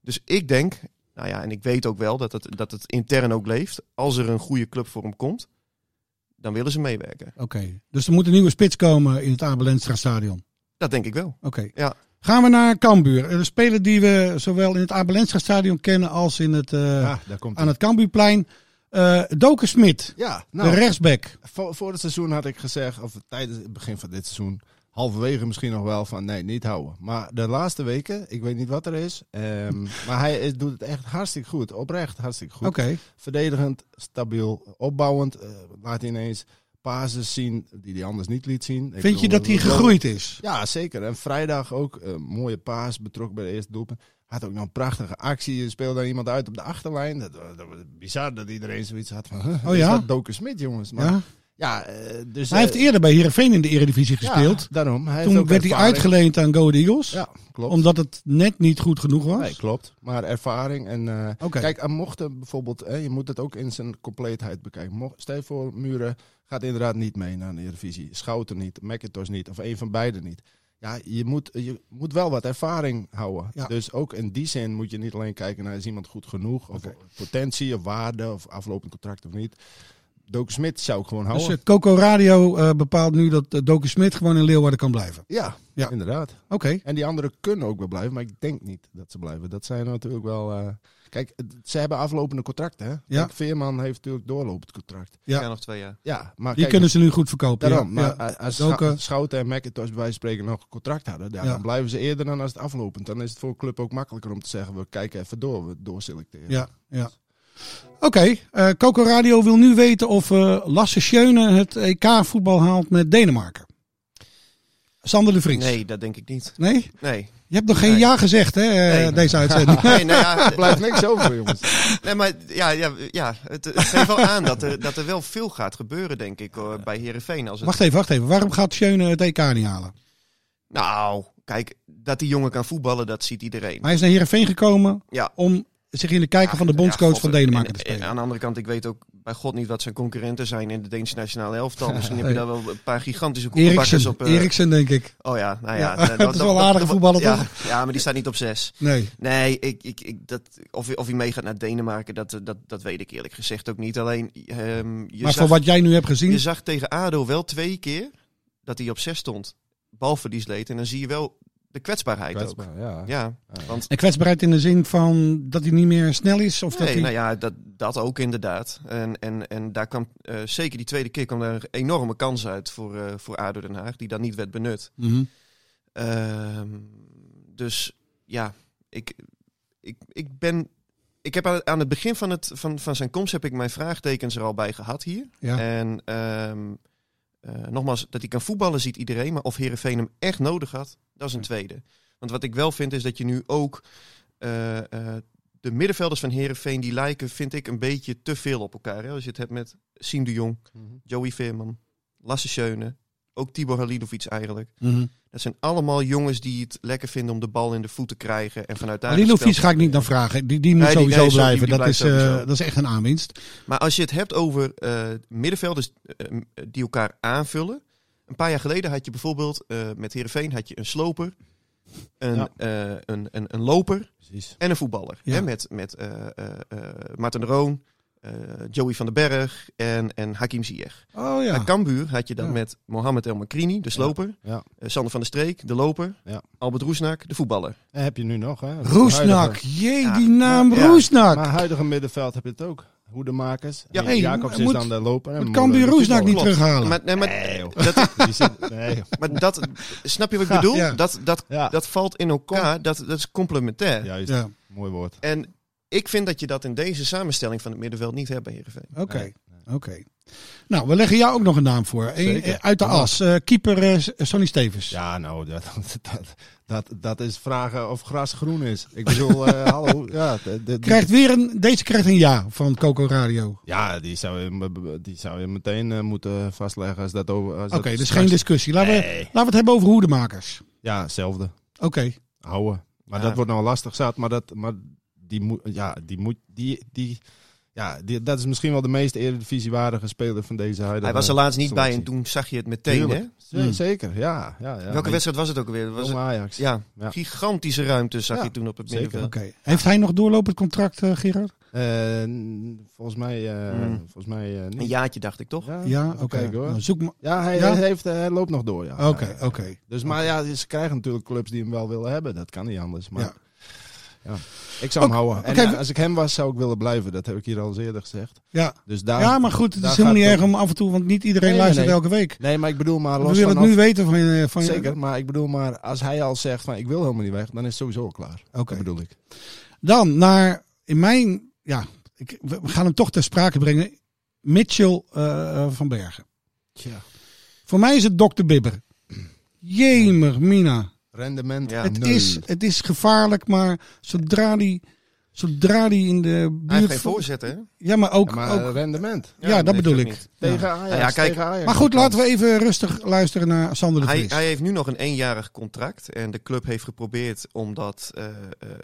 Speaker 3: Dus ik denk, nou ja, en ik weet ook wel dat het, dat het intern ook leeft. Als er een goede club voor hem komt, dan willen ze meewerken.
Speaker 2: Oké, dus er moet een nieuwe spits komen in het Abelenstra stadion.
Speaker 3: Dat denk ik wel.
Speaker 2: Oké.
Speaker 3: Ja.
Speaker 2: Gaan we naar Cambuur. Een speler die we zowel in het Abelenstra stadion kennen als in het, eh,
Speaker 3: Ah.
Speaker 4: Ja, daar komt
Speaker 2: aan het Cambuurplein. Eh Doken Smit,
Speaker 4: Ja,
Speaker 2: de
Speaker 4: nou,
Speaker 2: rechtsback.
Speaker 4: voor, voor het seizoen had ik gezegd, of tijdens het begin van dit seizoen, halverwege misschien nog wel van nee, niet houden. Maar de laatste weken, ik weet niet wat er is, ehm, maar hij is- doet het echt hartstikke goed. Oprecht hartstikke goed.
Speaker 2: Oké,
Speaker 4: Verdedigend, stabiel, opbouwend, eh, laat hij ineens basis zien die hij anders niet liet zien. Ik
Speaker 2: vind je
Speaker 4: bedoel, eh,
Speaker 2: dat hij
Speaker 4: wel-
Speaker 2: gegroeid is?
Speaker 4: Ja, zeker. En vrijdag ook eh, mooie paas betrokken bij de eerste doelpunt. Had ook nog een prachtige actie. Er Speelde daar iemand uit op de achterlijn. Dat, wa- dat was bizar dat iedereen zoiets had van. huh,
Speaker 2: Oh
Speaker 4: is
Speaker 2: ja?
Speaker 4: dat Doken Smit, jongens. Maar,
Speaker 2: Ja?
Speaker 4: ja. eh, dus,
Speaker 2: Hij heeft
Speaker 4: eh,
Speaker 2: eerder bij Heerenveen in de Eredivisie gespeeld.
Speaker 4: Ja, daarom. Hij heeft
Speaker 2: Toen
Speaker 4: ook
Speaker 2: werd hij
Speaker 4: ervaring.
Speaker 2: uitgeleend aan Go Ahead Eagles.
Speaker 4: Ja, klopt.
Speaker 2: omdat het net niet goed genoeg was.
Speaker 4: Nee, klopt. Maar ervaring en... eh,
Speaker 2: Oké.
Speaker 4: Kijk, en mocht er bijvoorbeeld... Hè, je moet het ook in zijn compleetheid bekijken. Mocht, stel je voor, Muren gaat inderdaad niet mee naar de Eredivisie. Schouten niet, McIntosh niet. Of een van beiden niet. Ja, je moet, je moet wel wat ervaring houden.
Speaker 2: Ja.
Speaker 4: Dus ook in die zin moet je niet alleen kijken naar... is iemand goed genoeg? Of potentie, of waarde, of aflopend contract of niet. Doken Smit zou ik gewoon
Speaker 2: Dus
Speaker 4: houden.
Speaker 2: eh, Coco Radio eh, bepaalt nu dat Doken Smit gewoon in Leeuwarden kan blijven.
Speaker 4: ja,
Speaker 2: Ja.
Speaker 4: ja, inderdaad.
Speaker 2: Oké.
Speaker 4: En die anderen kunnen ook wel blijven, maar ik denk niet dat ze blijven. Dat zijn natuurlijk wel. eh, kijk, het- ze hebben aflopende contracten. Hè?
Speaker 2: Ja.
Speaker 4: Kijk, Veerman heeft natuurlijk doorlopend contract.
Speaker 2: Ja.
Speaker 3: Ja, nog twee jaar.
Speaker 4: Ja, maar
Speaker 2: Die
Speaker 4: kijk, dus
Speaker 2: kunnen ze nu goed verkopen.
Speaker 4: daarom.
Speaker 2: ja.
Speaker 4: maar
Speaker 2: Ja.
Speaker 4: a- als
Speaker 2: Doken.
Speaker 4: Scha- Schouten en McIntosh bij wijze van spreken nog een contract hadden, ja,
Speaker 2: eh, Ja.
Speaker 4: dan blijven ze eerder dan als het aflopend. Dan is het voor een club ook makkelijker om te zeggen: we kijken even door, we doorselecteren.
Speaker 2: Ja, ja. Oké, eh, Coco Radio wil nu weten of eh, Lasse Schöne het EK-voetbal haalt met Denemarken. Sander de Vries.
Speaker 3: Nee, dat denk ik niet.
Speaker 2: Nee?
Speaker 3: Nee.
Speaker 2: Je hebt nog geen
Speaker 3: Nee.
Speaker 2: ja gezegd, hè, eh,
Speaker 3: Nee.
Speaker 2: deze uitzending.
Speaker 3: Nee, nou ja,
Speaker 4: Er blijft niks over, jongens.
Speaker 3: nee, maar ja, ja, ja het, het geeft wel aan dat er, dat er wel veel gaat gebeuren, denk ik, hoor, bij Herenveen. Als het...
Speaker 2: wacht even, wacht even. Waarom gaat Schöne het EK niet halen?
Speaker 3: Nou, kijk, dat die jongen kan voetballen, dat ziet iedereen.
Speaker 2: Hij is naar Heerenveen gekomen
Speaker 3: Ja.
Speaker 2: om zich in de kijker
Speaker 3: Ja,
Speaker 2: van de bondscoach
Speaker 3: ja, God,
Speaker 2: van Denemarken
Speaker 3: en-
Speaker 2: te
Speaker 3: en
Speaker 2: spelen.
Speaker 3: Aan de andere kant, ik weet ook bij God niet wat zijn concurrenten zijn in de Deense nationale elftal. Misschien heb je daar wel een paar gigantische koekenbakkers
Speaker 2: Eriksen,
Speaker 3: op. eh,
Speaker 2: Eriksen, denk ik.
Speaker 3: Oh ja, nou
Speaker 2: Ja,
Speaker 3: ja.
Speaker 2: dat is wel een aardige voetballer,
Speaker 3: ja,
Speaker 2: toch?
Speaker 3: Ja, maar die staat niet op zes.
Speaker 2: Nee.
Speaker 3: Nee, ik, ik, ik, dat, of, hij- of hij meegaat naar Denemarken, dat, dat, dat weet ik eerlijk gezegd ook niet. Alleen, ehm, je,
Speaker 2: maar
Speaker 3: zag,
Speaker 2: van wat jij nu hebt gezien,
Speaker 3: je zag tegen ADO wel twee keer dat hij op zes stond. Balverlies leed. En dan zie je wel de kwetsbaarheid ook.
Speaker 4: Kwetsbaar, ja.
Speaker 3: Ja, want
Speaker 2: En kwetsbaarheid in de zin van dat hij niet meer snel is? Of dat
Speaker 3: nee,
Speaker 2: hij...
Speaker 3: nou ja, dat, dat ook inderdaad. En, en, en daar kwam, eh, zeker die tweede keer, kwam daar een enorme kans uit voor, eh voor ADO Den Haag, die dan niet werd benut.
Speaker 2: Mhm.
Speaker 3: Ehm, dus ja, ik, ik, ik ben. Ik heb aan, aan het begin van, het, van, van zijn komst heb ik mijn vraagtekens er al bij gehad hier.
Speaker 2: Ja.
Speaker 3: En ehm, eh, nogmaals, dat hij kan voetballen ziet iedereen. Maar of Herenveen hem echt nodig had, dat is een tweede. Want wat ik wel vind is dat je nu ook. eh, eh, de middenvelders van Herenveen die lijken, vind ik, een beetje te veel op elkaar. Hè? Als je het hebt met Siem de Jong,
Speaker 4: Mhm.
Speaker 3: Joey Veerman, Lasse Schöne, ook Tibor Halilovic eigenlijk.
Speaker 2: Mhm.
Speaker 3: Dat zijn allemaal jongens die het lekker vinden om de bal in de voet te krijgen. En vanuit daar
Speaker 2: Maar die
Speaker 3: het spel
Speaker 2: Loeffiets
Speaker 3: te
Speaker 2: ga ik niet naar
Speaker 3: creëren.
Speaker 2: vragen. Die, die moet
Speaker 3: Nee, die-
Speaker 2: sowieso
Speaker 3: nee, zo- die-
Speaker 2: blijven.
Speaker 3: die
Speaker 2: dat,
Speaker 3: blijft
Speaker 2: is, eh,
Speaker 3: sowieso.
Speaker 2: dat is echt een aanwinst.
Speaker 3: Maar als je het hebt over eh, middenvelders eh, m- die elkaar aanvullen. Een paar jaar geleden had je bijvoorbeeld eh, met Heerenveen had je een sloper, een,
Speaker 4: Ja.
Speaker 3: eh, een, een, een loper
Speaker 4: Precies.
Speaker 3: en een voetballer.
Speaker 2: Ja.
Speaker 3: Hè, met met eh, eh, eh, Maarten Roon, eh, Joey van den Berg en, en Hakim Ziyech.
Speaker 2: Oh
Speaker 3: Bij
Speaker 2: ja.
Speaker 3: Cambuur had je dan
Speaker 4: Ah. Ja.
Speaker 3: met Mohamed El Makrini, de sloper,
Speaker 4: Ja.
Speaker 3: eh, Sander van der Streek, de loper,
Speaker 4: Ja.
Speaker 3: Albert Roesnak, de voetballer.
Speaker 4: En heb je nu nog, hè?
Speaker 2: Roesnak. Jee,
Speaker 3: Ja.
Speaker 2: die naam
Speaker 3: Ja.
Speaker 2: Roesnak.
Speaker 4: Maar huidige middenveld heb je het ook. Hoedemakers.
Speaker 3: Ja,
Speaker 4: En
Speaker 2: hey,
Speaker 4: Jacobs
Speaker 2: moet-
Speaker 4: is dan de loper. en
Speaker 2: Moet Cambuur
Speaker 4: Moller de
Speaker 2: Roesnak niet
Speaker 3: klopt.
Speaker 2: terughalen?
Speaker 3: Maar, nee, maar
Speaker 4: Nee, joh.
Speaker 3: dat,
Speaker 4: Die zit- nee.
Speaker 3: Maar dat, snap je wat ik bedoel?
Speaker 2: Ja.
Speaker 3: Dat, dat,
Speaker 4: Ja.
Speaker 3: dat valt in elkaar, dat, dat is complementair.
Speaker 4: Juist.
Speaker 2: Ja,
Speaker 4: Mooi woord.
Speaker 3: En ik vind dat je dat in deze samenstelling van het middenveld niet hebt bij Heerenveen.
Speaker 2: oké. Oké. Nou, we leggen jou ook nog een naam voor. Eén,
Speaker 4: Zeker.
Speaker 2: eh, uit de
Speaker 4: Ja.
Speaker 2: as. Eh, keeper eh, Sonny Stevens.
Speaker 4: Ja, nou, dat, dat, dat, dat is vragen of gras groen is. Ik bedoel, eh, hallo. Ja, de- de-
Speaker 2: Krijgt weer een, deze krijgt een ja van Coco Radio.
Speaker 4: ja die, zou je, me- be- die zou je meteen eh, moeten vastleggen als dat over... als
Speaker 2: Oké,
Speaker 4: dat
Speaker 2: dus
Speaker 4: straks-
Speaker 2: geen discussie. Laten, we,
Speaker 4: Nee.
Speaker 2: laten we het hebben over hoedemakers.
Speaker 4: Ja, hetzelfde.
Speaker 2: Oké.
Speaker 4: Houden. Maar
Speaker 3: Ja.
Speaker 4: dat wordt nou lastig zat. Maar, dat, maar die moet... Ja, die moet... Die, die, ja, die, dat is misschien wel de meest eredivisiewaardige speler van deze huidige...
Speaker 3: Hij was er laatst niet bij en
Speaker 4: selectie.
Speaker 3: toen zag je het meteen. Hè? Hmm.
Speaker 4: Tuurlijk. Ze- Zeker, ja. ja, ja.
Speaker 3: Welke
Speaker 4: Nee,
Speaker 3: wedstrijd was het ook alweer? Dat Was
Speaker 4: Jong Ajax.
Speaker 3: ja,
Speaker 4: Ja.
Speaker 3: gigantische ruimte zag
Speaker 4: Ja,
Speaker 3: je toen op het
Speaker 4: zeker.
Speaker 3: middenveld.
Speaker 2: Oké. Heeft hij nog doorlopend contract, eh, Gerard?
Speaker 4: Eh, n- volgens mij, eh,
Speaker 3: Mm.
Speaker 4: volgens mij eh, niet.
Speaker 3: Een jaartje dacht ik toch?
Speaker 2: Ja,
Speaker 4: even
Speaker 2: oké.
Speaker 4: kijken hoor.
Speaker 2: Nou, zoek maar.
Speaker 4: Ja, hij,
Speaker 2: Ja?
Speaker 4: hij heeft, eh, hij loopt nog door. Ja.
Speaker 2: Oké,
Speaker 4: Ja,
Speaker 2: oké.
Speaker 4: ja. Dus, maar ja, ze krijgen natuurlijk clubs die hem wel willen hebben. Dat kan niet anders. Maar
Speaker 2: Ja.
Speaker 4: ja. ik zou hem
Speaker 2: Oké,
Speaker 4: houden. En
Speaker 2: oké,
Speaker 4: ja,
Speaker 2: we-
Speaker 4: als ik hem was, zou ik willen blijven. Dat heb ik hier al eens eerder gezegd.
Speaker 2: Ja.
Speaker 4: Dus daar,
Speaker 2: ja, maar goed, het
Speaker 4: daar
Speaker 2: is helemaal niet
Speaker 4: gaat
Speaker 2: erg
Speaker 4: het
Speaker 2: om af en toe, want niet iedereen
Speaker 4: Nee, nee,
Speaker 2: luistert
Speaker 4: nee.
Speaker 2: elke week.
Speaker 4: Nee, maar ik bedoel maar
Speaker 2: We
Speaker 4: los
Speaker 2: willen
Speaker 4: van...
Speaker 2: het nu weten van je. Van je-
Speaker 4: Zeker, maar ik bedoel maar als hij al zegt van ik wil helemaal niet weg, dan is het sowieso al klaar.
Speaker 2: Oké.
Speaker 4: Dat bedoel ik.
Speaker 2: Dan naar, in mijn, ja, ik, we we gaan hem toch ter sprake brengen. Mitchell eh, eh, van Bergen.
Speaker 4: Tja.
Speaker 2: Voor mij is het Dr. Bibber. Jemer, Mina.
Speaker 4: Rendement.
Speaker 3: Ja.
Speaker 2: het,
Speaker 4: nul.
Speaker 2: is, het is gevaarlijk, maar zodra die, zodra die in de
Speaker 3: Hij heeft
Speaker 2: buurt...
Speaker 3: geen voorzet, hè?
Speaker 2: Ja, maar ook...
Speaker 4: Ja, maar eh,
Speaker 2: ook
Speaker 4: rendement.
Speaker 2: ja, dat bedoel
Speaker 3: heeft
Speaker 2: ik.
Speaker 3: ook
Speaker 4: Tegen
Speaker 2: Ja.
Speaker 4: Ajax.
Speaker 3: Nou ja, kijk,
Speaker 4: tegen Ajax.
Speaker 2: Maar goed, laten we even rustig luisteren naar Sander de
Speaker 3: Hij,
Speaker 2: Vries.
Speaker 3: hij heeft nu nog een eenjarig contract. En de club heeft geprobeerd om dat eh, eh,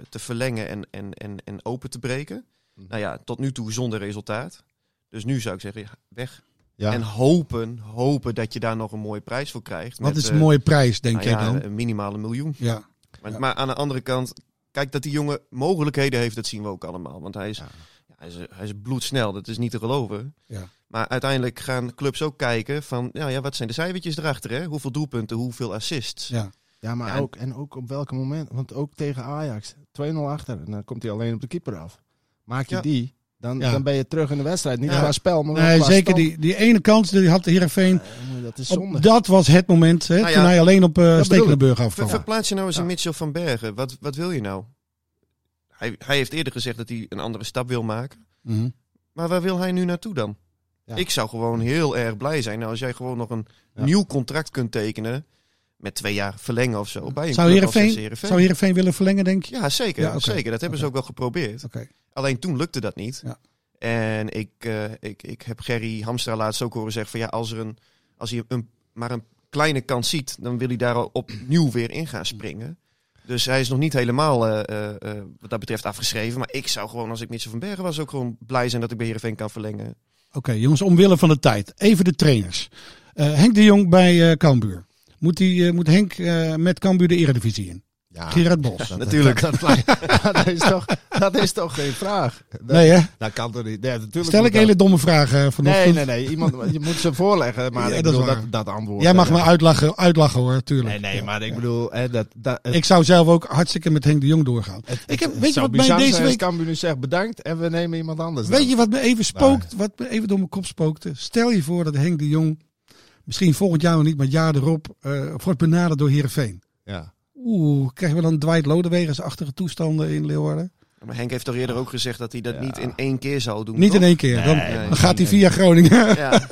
Speaker 3: te verlengen en, en, en, en open te breken.
Speaker 2: Mhm.
Speaker 3: Nou ja, tot nu toe zonder resultaat. Dus nu zou ik zeggen, ja, weg.
Speaker 4: Ja.
Speaker 3: En hopen, hopen dat je daar nog een mooie prijs voor krijgt.
Speaker 2: Wat
Speaker 3: Met,
Speaker 2: is
Speaker 3: eh,
Speaker 2: een mooie prijs, denk
Speaker 3: nou
Speaker 2: jij
Speaker 3: ja,
Speaker 2: dan?
Speaker 3: Een minimale miljoen.
Speaker 2: Ja.
Speaker 3: Maar, maar aan de andere kant, kijk dat die jongen mogelijkheden heeft, dat zien we ook allemaal. Want hij is,
Speaker 4: Ja.
Speaker 3: ja, hij is, hij is bloedsnel, dat is niet te geloven.
Speaker 2: Ja.
Speaker 3: Maar uiteindelijk gaan clubs ook kijken van, nou ja, wat zijn de cijfertjes erachter? Hè? Hoeveel doelpunten, hoeveel assists?
Speaker 2: ja.
Speaker 4: Ja, maar
Speaker 3: Ja, en-
Speaker 4: ook, en ook op welk moment. Want ook tegen Ajax, 2-0 achter. En dan komt hij alleen op de keeper af. Maak je
Speaker 3: Ja.
Speaker 4: die, dan,
Speaker 2: Ja.
Speaker 4: dan ben je terug in de wedstrijd. Niet
Speaker 3: Ja.
Speaker 4: qua spel, maar wel
Speaker 2: Nee,
Speaker 4: qua
Speaker 2: zeker
Speaker 4: stand.
Speaker 2: die, die ene kans die had de Heerenveen.
Speaker 4: Eh, dat is
Speaker 2: Op-
Speaker 4: zonde.
Speaker 2: dat was het moment hè,
Speaker 3: Nou ja,
Speaker 2: toen hij alleen op eh
Speaker 4: ik.
Speaker 2: Stekelenburg
Speaker 3: Ver-
Speaker 2: afkwam.
Speaker 3: verplaats je nou eens
Speaker 4: Ja.
Speaker 3: een Mitchell van Bergen. Wat, wat wil je nou? Hij, hij heeft eerder gezegd dat hij een andere stap wil maken.
Speaker 2: Mhm.
Speaker 3: Maar waar wil hij nu naartoe dan?
Speaker 4: Ja.
Speaker 3: Ik zou gewoon heel erg blij zijn nou, als jij gewoon nog een
Speaker 4: Ja.
Speaker 3: nieuw contract kunt tekenen. Met twee jaar verlengen of zo. Bij een
Speaker 2: Zou
Speaker 3: club als
Speaker 2: Heerenveen,
Speaker 3: dus Heerenveen.
Speaker 2: zou Heerenveen willen verlengen, denk je?
Speaker 3: Ja, zeker.
Speaker 2: Ja, oké.
Speaker 3: zeker. Dat hebben ze ook wel geprobeerd.
Speaker 2: Oké.
Speaker 3: Alleen toen lukte dat niet.
Speaker 2: Ja.
Speaker 3: En ik, eh, ik, ik heb Gerry Hamstra laatst ook horen zeggen van ja, als, er een, als hij een, maar een kleine kans ziet, dan wil hij daar al opnieuw weer in gaan springen. Dus hij is nog niet helemaal eh, eh, eh, wat dat betreft afgeschreven. Maar ik zou gewoon, als ik Mitchell van Bergen was, ook gewoon blij zijn dat ik bij Heerenveen kan verlengen.
Speaker 2: Oké, jongens, omwille van de tijd. Even de trainers. Eh, Henk de Jong bij eh Cambuur. Moet, die, eh, moet Henk eh, met Cambuur de eredivisie in?
Speaker 4: Ah. Ja,
Speaker 2: Gerard Bos.
Speaker 4: dat-
Speaker 3: Natuurlijk.
Speaker 4: Dat, dat- dat is toch, dat is toch geen vraag? Dat,
Speaker 2: Nee, hè?
Speaker 4: dat kan toch niet? Nee, natuurlijk
Speaker 2: Stel
Speaker 4: moet
Speaker 2: ik
Speaker 4: dat-
Speaker 2: hele domme vragen eh, vanochtend.
Speaker 4: Nee, nee, nee. Iemand, je moet ze voorleggen, maar
Speaker 2: Ja,
Speaker 4: ik
Speaker 2: dat is
Speaker 4: bedoel,
Speaker 2: waar.
Speaker 4: dat, dat antwoord.
Speaker 2: Jij mag
Speaker 4: eh,
Speaker 2: me uitlachen, uitlachen hoor, tuurlijk.
Speaker 4: Nee, nee,
Speaker 2: Ja.
Speaker 4: maar ik bedoel, hè, dat, dat, het-
Speaker 2: Ik zou zelf ook hartstikke met Henk de Jong doorgaan.
Speaker 4: het-
Speaker 2: ik heb-
Speaker 4: het
Speaker 2: weet je
Speaker 4: zou
Speaker 2: wat mij
Speaker 4: bizar
Speaker 2: deze
Speaker 4: zijn als
Speaker 2: week-
Speaker 4: Cambuur nu zegt bedankt en we nemen iemand anders. dan.
Speaker 2: Weet je wat me even spookt, wat me even door mijn kop spookte? Stel je voor dat Henk de Jong, misschien volgend jaar nog niet, maar het jaar erop, eh, wordt benaderd door Heerenveen.
Speaker 4: Ja.
Speaker 2: Oeh, krijgen we dan Dwight Lodewegens-achtige toestanden in Leeuwarden?
Speaker 3: Maar Henk heeft toch eerder ook gezegd dat hij dat
Speaker 4: Ja.
Speaker 3: niet in één keer zou doen.
Speaker 2: Niet in
Speaker 3: toch?
Speaker 2: één keer, dan,
Speaker 4: Nee,
Speaker 2: dan
Speaker 3: nee,
Speaker 2: gaat hij
Speaker 4: nee.
Speaker 2: via Groningen.
Speaker 3: Ja.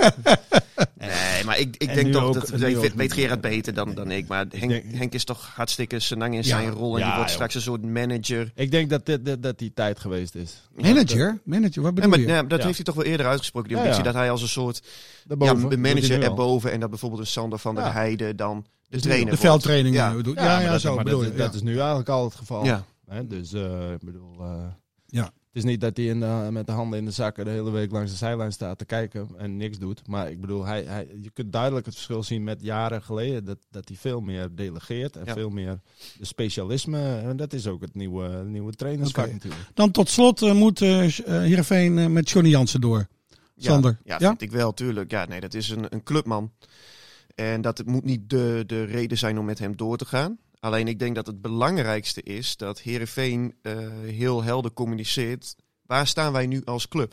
Speaker 3: Nee, maar ik, ik
Speaker 4: En
Speaker 3: denk
Speaker 4: nu
Speaker 3: toch
Speaker 4: ook-
Speaker 3: dat
Speaker 4: en nu
Speaker 3: weet,
Speaker 4: ook
Speaker 3: weet
Speaker 4: niet.
Speaker 3: Gerard beter dan, dan ik. Maar Henk,
Speaker 4: denk-
Speaker 3: Henk is toch hartstikke senang in
Speaker 2: Ja.
Speaker 3: zijn rol. En
Speaker 4: Ja,
Speaker 3: die wordt
Speaker 4: joh.
Speaker 3: straks een soort manager.
Speaker 4: Ik denk dat, dit, dat, dat die tijd geweest is.
Speaker 2: Manager? Manager, wat
Speaker 3: Nee,
Speaker 2: bedoel
Speaker 3: maar,
Speaker 2: je?
Speaker 3: nee, dat
Speaker 4: Ja.
Speaker 3: heeft hij toch wel eerder uitgesproken. Die
Speaker 4: Ja,
Speaker 3: ambitie
Speaker 4: ja.
Speaker 3: dat hij als een soort ja,
Speaker 4: Daarboven, doet hij
Speaker 3: manager
Speaker 4: nu al.
Speaker 3: erboven. En dat bijvoorbeeld een Sander van der
Speaker 4: Ja.
Speaker 3: Heijden dan de
Speaker 4: nu al.
Speaker 3: trainer
Speaker 2: De
Speaker 3: wordt.
Speaker 2: veldtraining
Speaker 3: Ja.
Speaker 2: eh, bedoel
Speaker 4: Ja,
Speaker 2: Ja, ja,
Speaker 4: maar dat,
Speaker 2: zo
Speaker 4: maar
Speaker 2: bedoel
Speaker 4: dat,
Speaker 2: je.
Speaker 4: dat
Speaker 2: ja.
Speaker 4: is nu eigenlijk al het geval.
Speaker 3: Ja.
Speaker 4: Hè, dus eh, ik bedoel, eh,
Speaker 2: Ja.
Speaker 4: het is niet dat hij in de- met de handen in de zakken de hele week langs de zijlijn staat te kijken en niks doet. Maar ik bedoel, hij, hij, je kunt duidelijk het verschil zien met jaren geleden. Dat, dat hij veel meer delegeert en
Speaker 3: Ja.
Speaker 4: veel meer de specialisme. En dat is ook het nieuwe, nieuwe trainersvak
Speaker 2: Oké.
Speaker 4: natuurlijk.
Speaker 2: Dan tot slot eh, moet eh eh, Heerenveen eh, met Johnny Jansen door. Sander,
Speaker 3: Ja,
Speaker 2: ja?
Speaker 3: vind ik wel, tuurlijk. Ja, nee, dat is een, een clubman. En dat het moet niet de, de reden zijn om met hem door te gaan. Alleen ik denk dat het belangrijkste is dat Herenveen heel helder communiceert. Waar staan wij nu als club?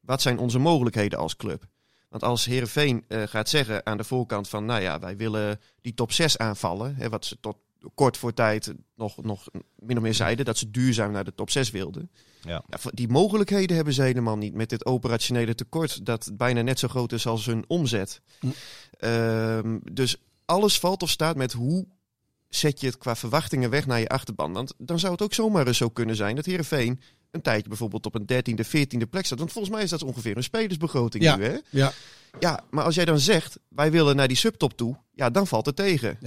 Speaker 3: Wat zijn onze mogelijkheden als club? Want als Herenveen gaat zeggen aan de voorkant van, nou ja, wij willen die top 6 aanvallen. Hè, wat ze tot kort voor tijd nog, nog min of meer zeiden, dat ze duurzaam naar de top 6 wilden.
Speaker 4: Ja.
Speaker 3: Ja, voor- die mogelijkheden hebben ze helemaal niet met dit operationele tekort, dat bijna net zo groot is als hun omzet.
Speaker 2: Hm.
Speaker 3: Ehm, dus alles valt of staat met hoe zet je het qua verwachtingen weg naar je achterban. Want dan zou het ook zomaar eens zo kunnen zijn dat Herenveen een tijdje bijvoorbeeld op een 13e, 14e plek staat. Want volgens mij is dat ongeveer een spelersbegroting nu. Hè?
Speaker 2: ja.
Speaker 3: Ja, maar als jij dan zegt, wij willen naar die subtop toe, ja, dan valt het tegen.
Speaker 4: Ik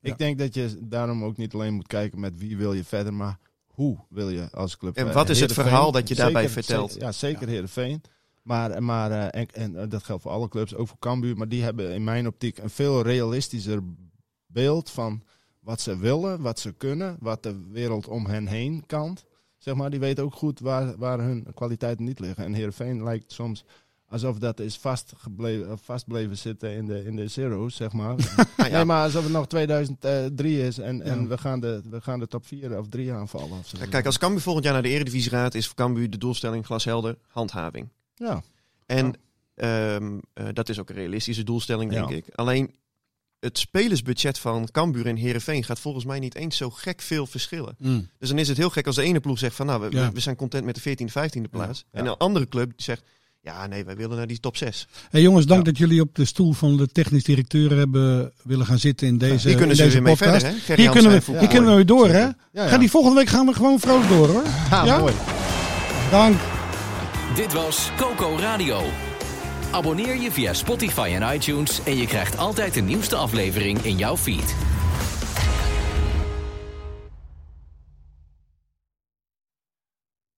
Speaker 2: Ja.
Speaker 4: denk dat je daarom ook niet alleen moet kijken met wie wil je verder, maar hoe wil je als club.
Speaker 3: En
Speaker 4: eh,
Speaker 3: wat is het
Speaker 4: Heerenveen,
Speaker 3: verhaal dat je daarbij
Speaker 4: zeker-
Speaker 3: vertelt?
Speaker 4: zeker- ja, zeker Heerenveen. Maar, maar eh, en, en eh, dat geldt voor alle clubs, ook voor Cambuur. Maar die hebben in mijn optiek een veel realistischer beeld van wat ze willen, wat ze kunnen, wat de wereld om hen heen kan. Zeg maar, die weten ook goed waar, waar hun kwaliteiten niet liggen. En Heerenveen lijkt soms alsof dat is vastgebleven, eh, vastbleven zitten in de, in de zero's, zeg maar.
Speaker 3: Nou ja,
Speaker 4: Nee, maar alsof het nog 2003 is en,
Speaker 2: Ja.
Speaker 4: en we, gaan de, we gaan de top 4 of 3 aanvallen. Of zo.
Speaker 3: Ja, Kijk, als Cambuur volgend jaar naar de Eredivisie gaat, is voor Cambuur de doelstelling glashelder handhaving.
Speaker 4: Ja,
Speaker 3: En ehm, eh, dat is ook een realistische doelstelling, denk
Speaker 4: Ja.
Speaker 3: ik. Alleen het spelersbudget van Cambuur en Herenveen gaat volgens mij niet eens zo gek veel verschillen.
Speaker 2: Mm.
Speaker 3: Dus dan is het heel gek als de ene ploeg zegt van nou, we,
Speaker 2: Ja.
Speaker 3: we zijn content met de 14e, 15e plaats.
Speaker 4: Ja.
Speaker 3: En een andere club die zegt ja, nee, wij willen naar die top 6.
Speaker 2: Hey jongens, dank
Speaker 4: Ja.
Speaker 2: dat jullie op de stoel van de technisch directeur hebben willen gaan zitten in deze,
Speaker 3: Hier kunnen
Speaker 2: in
Speaker 3: ze
Speaker 2: deze
Speaker 3: weer mee
Speaker 2: podcast.
Speaker 3: verder, hè? Gerry
Speaker 2: Hier kunnen we,
Speaker 3: Jansen en
Speaker 2: hier kunnen we weer door, hè?
Speaker 4: ja, ja.
Speaker 2: Ga die volgende week gaan we gewoon vrolijk door, hoor.
Speaker 4: Ah,
Speaker 2: ja?
Speaker 4: mooi.
Speaker 2: Dank.
Speaker 1: Dit was Coco Radio. Abonneer je via Spotify en iTunes en je krijgt altijd de nieuwste aflevering in jouw feed.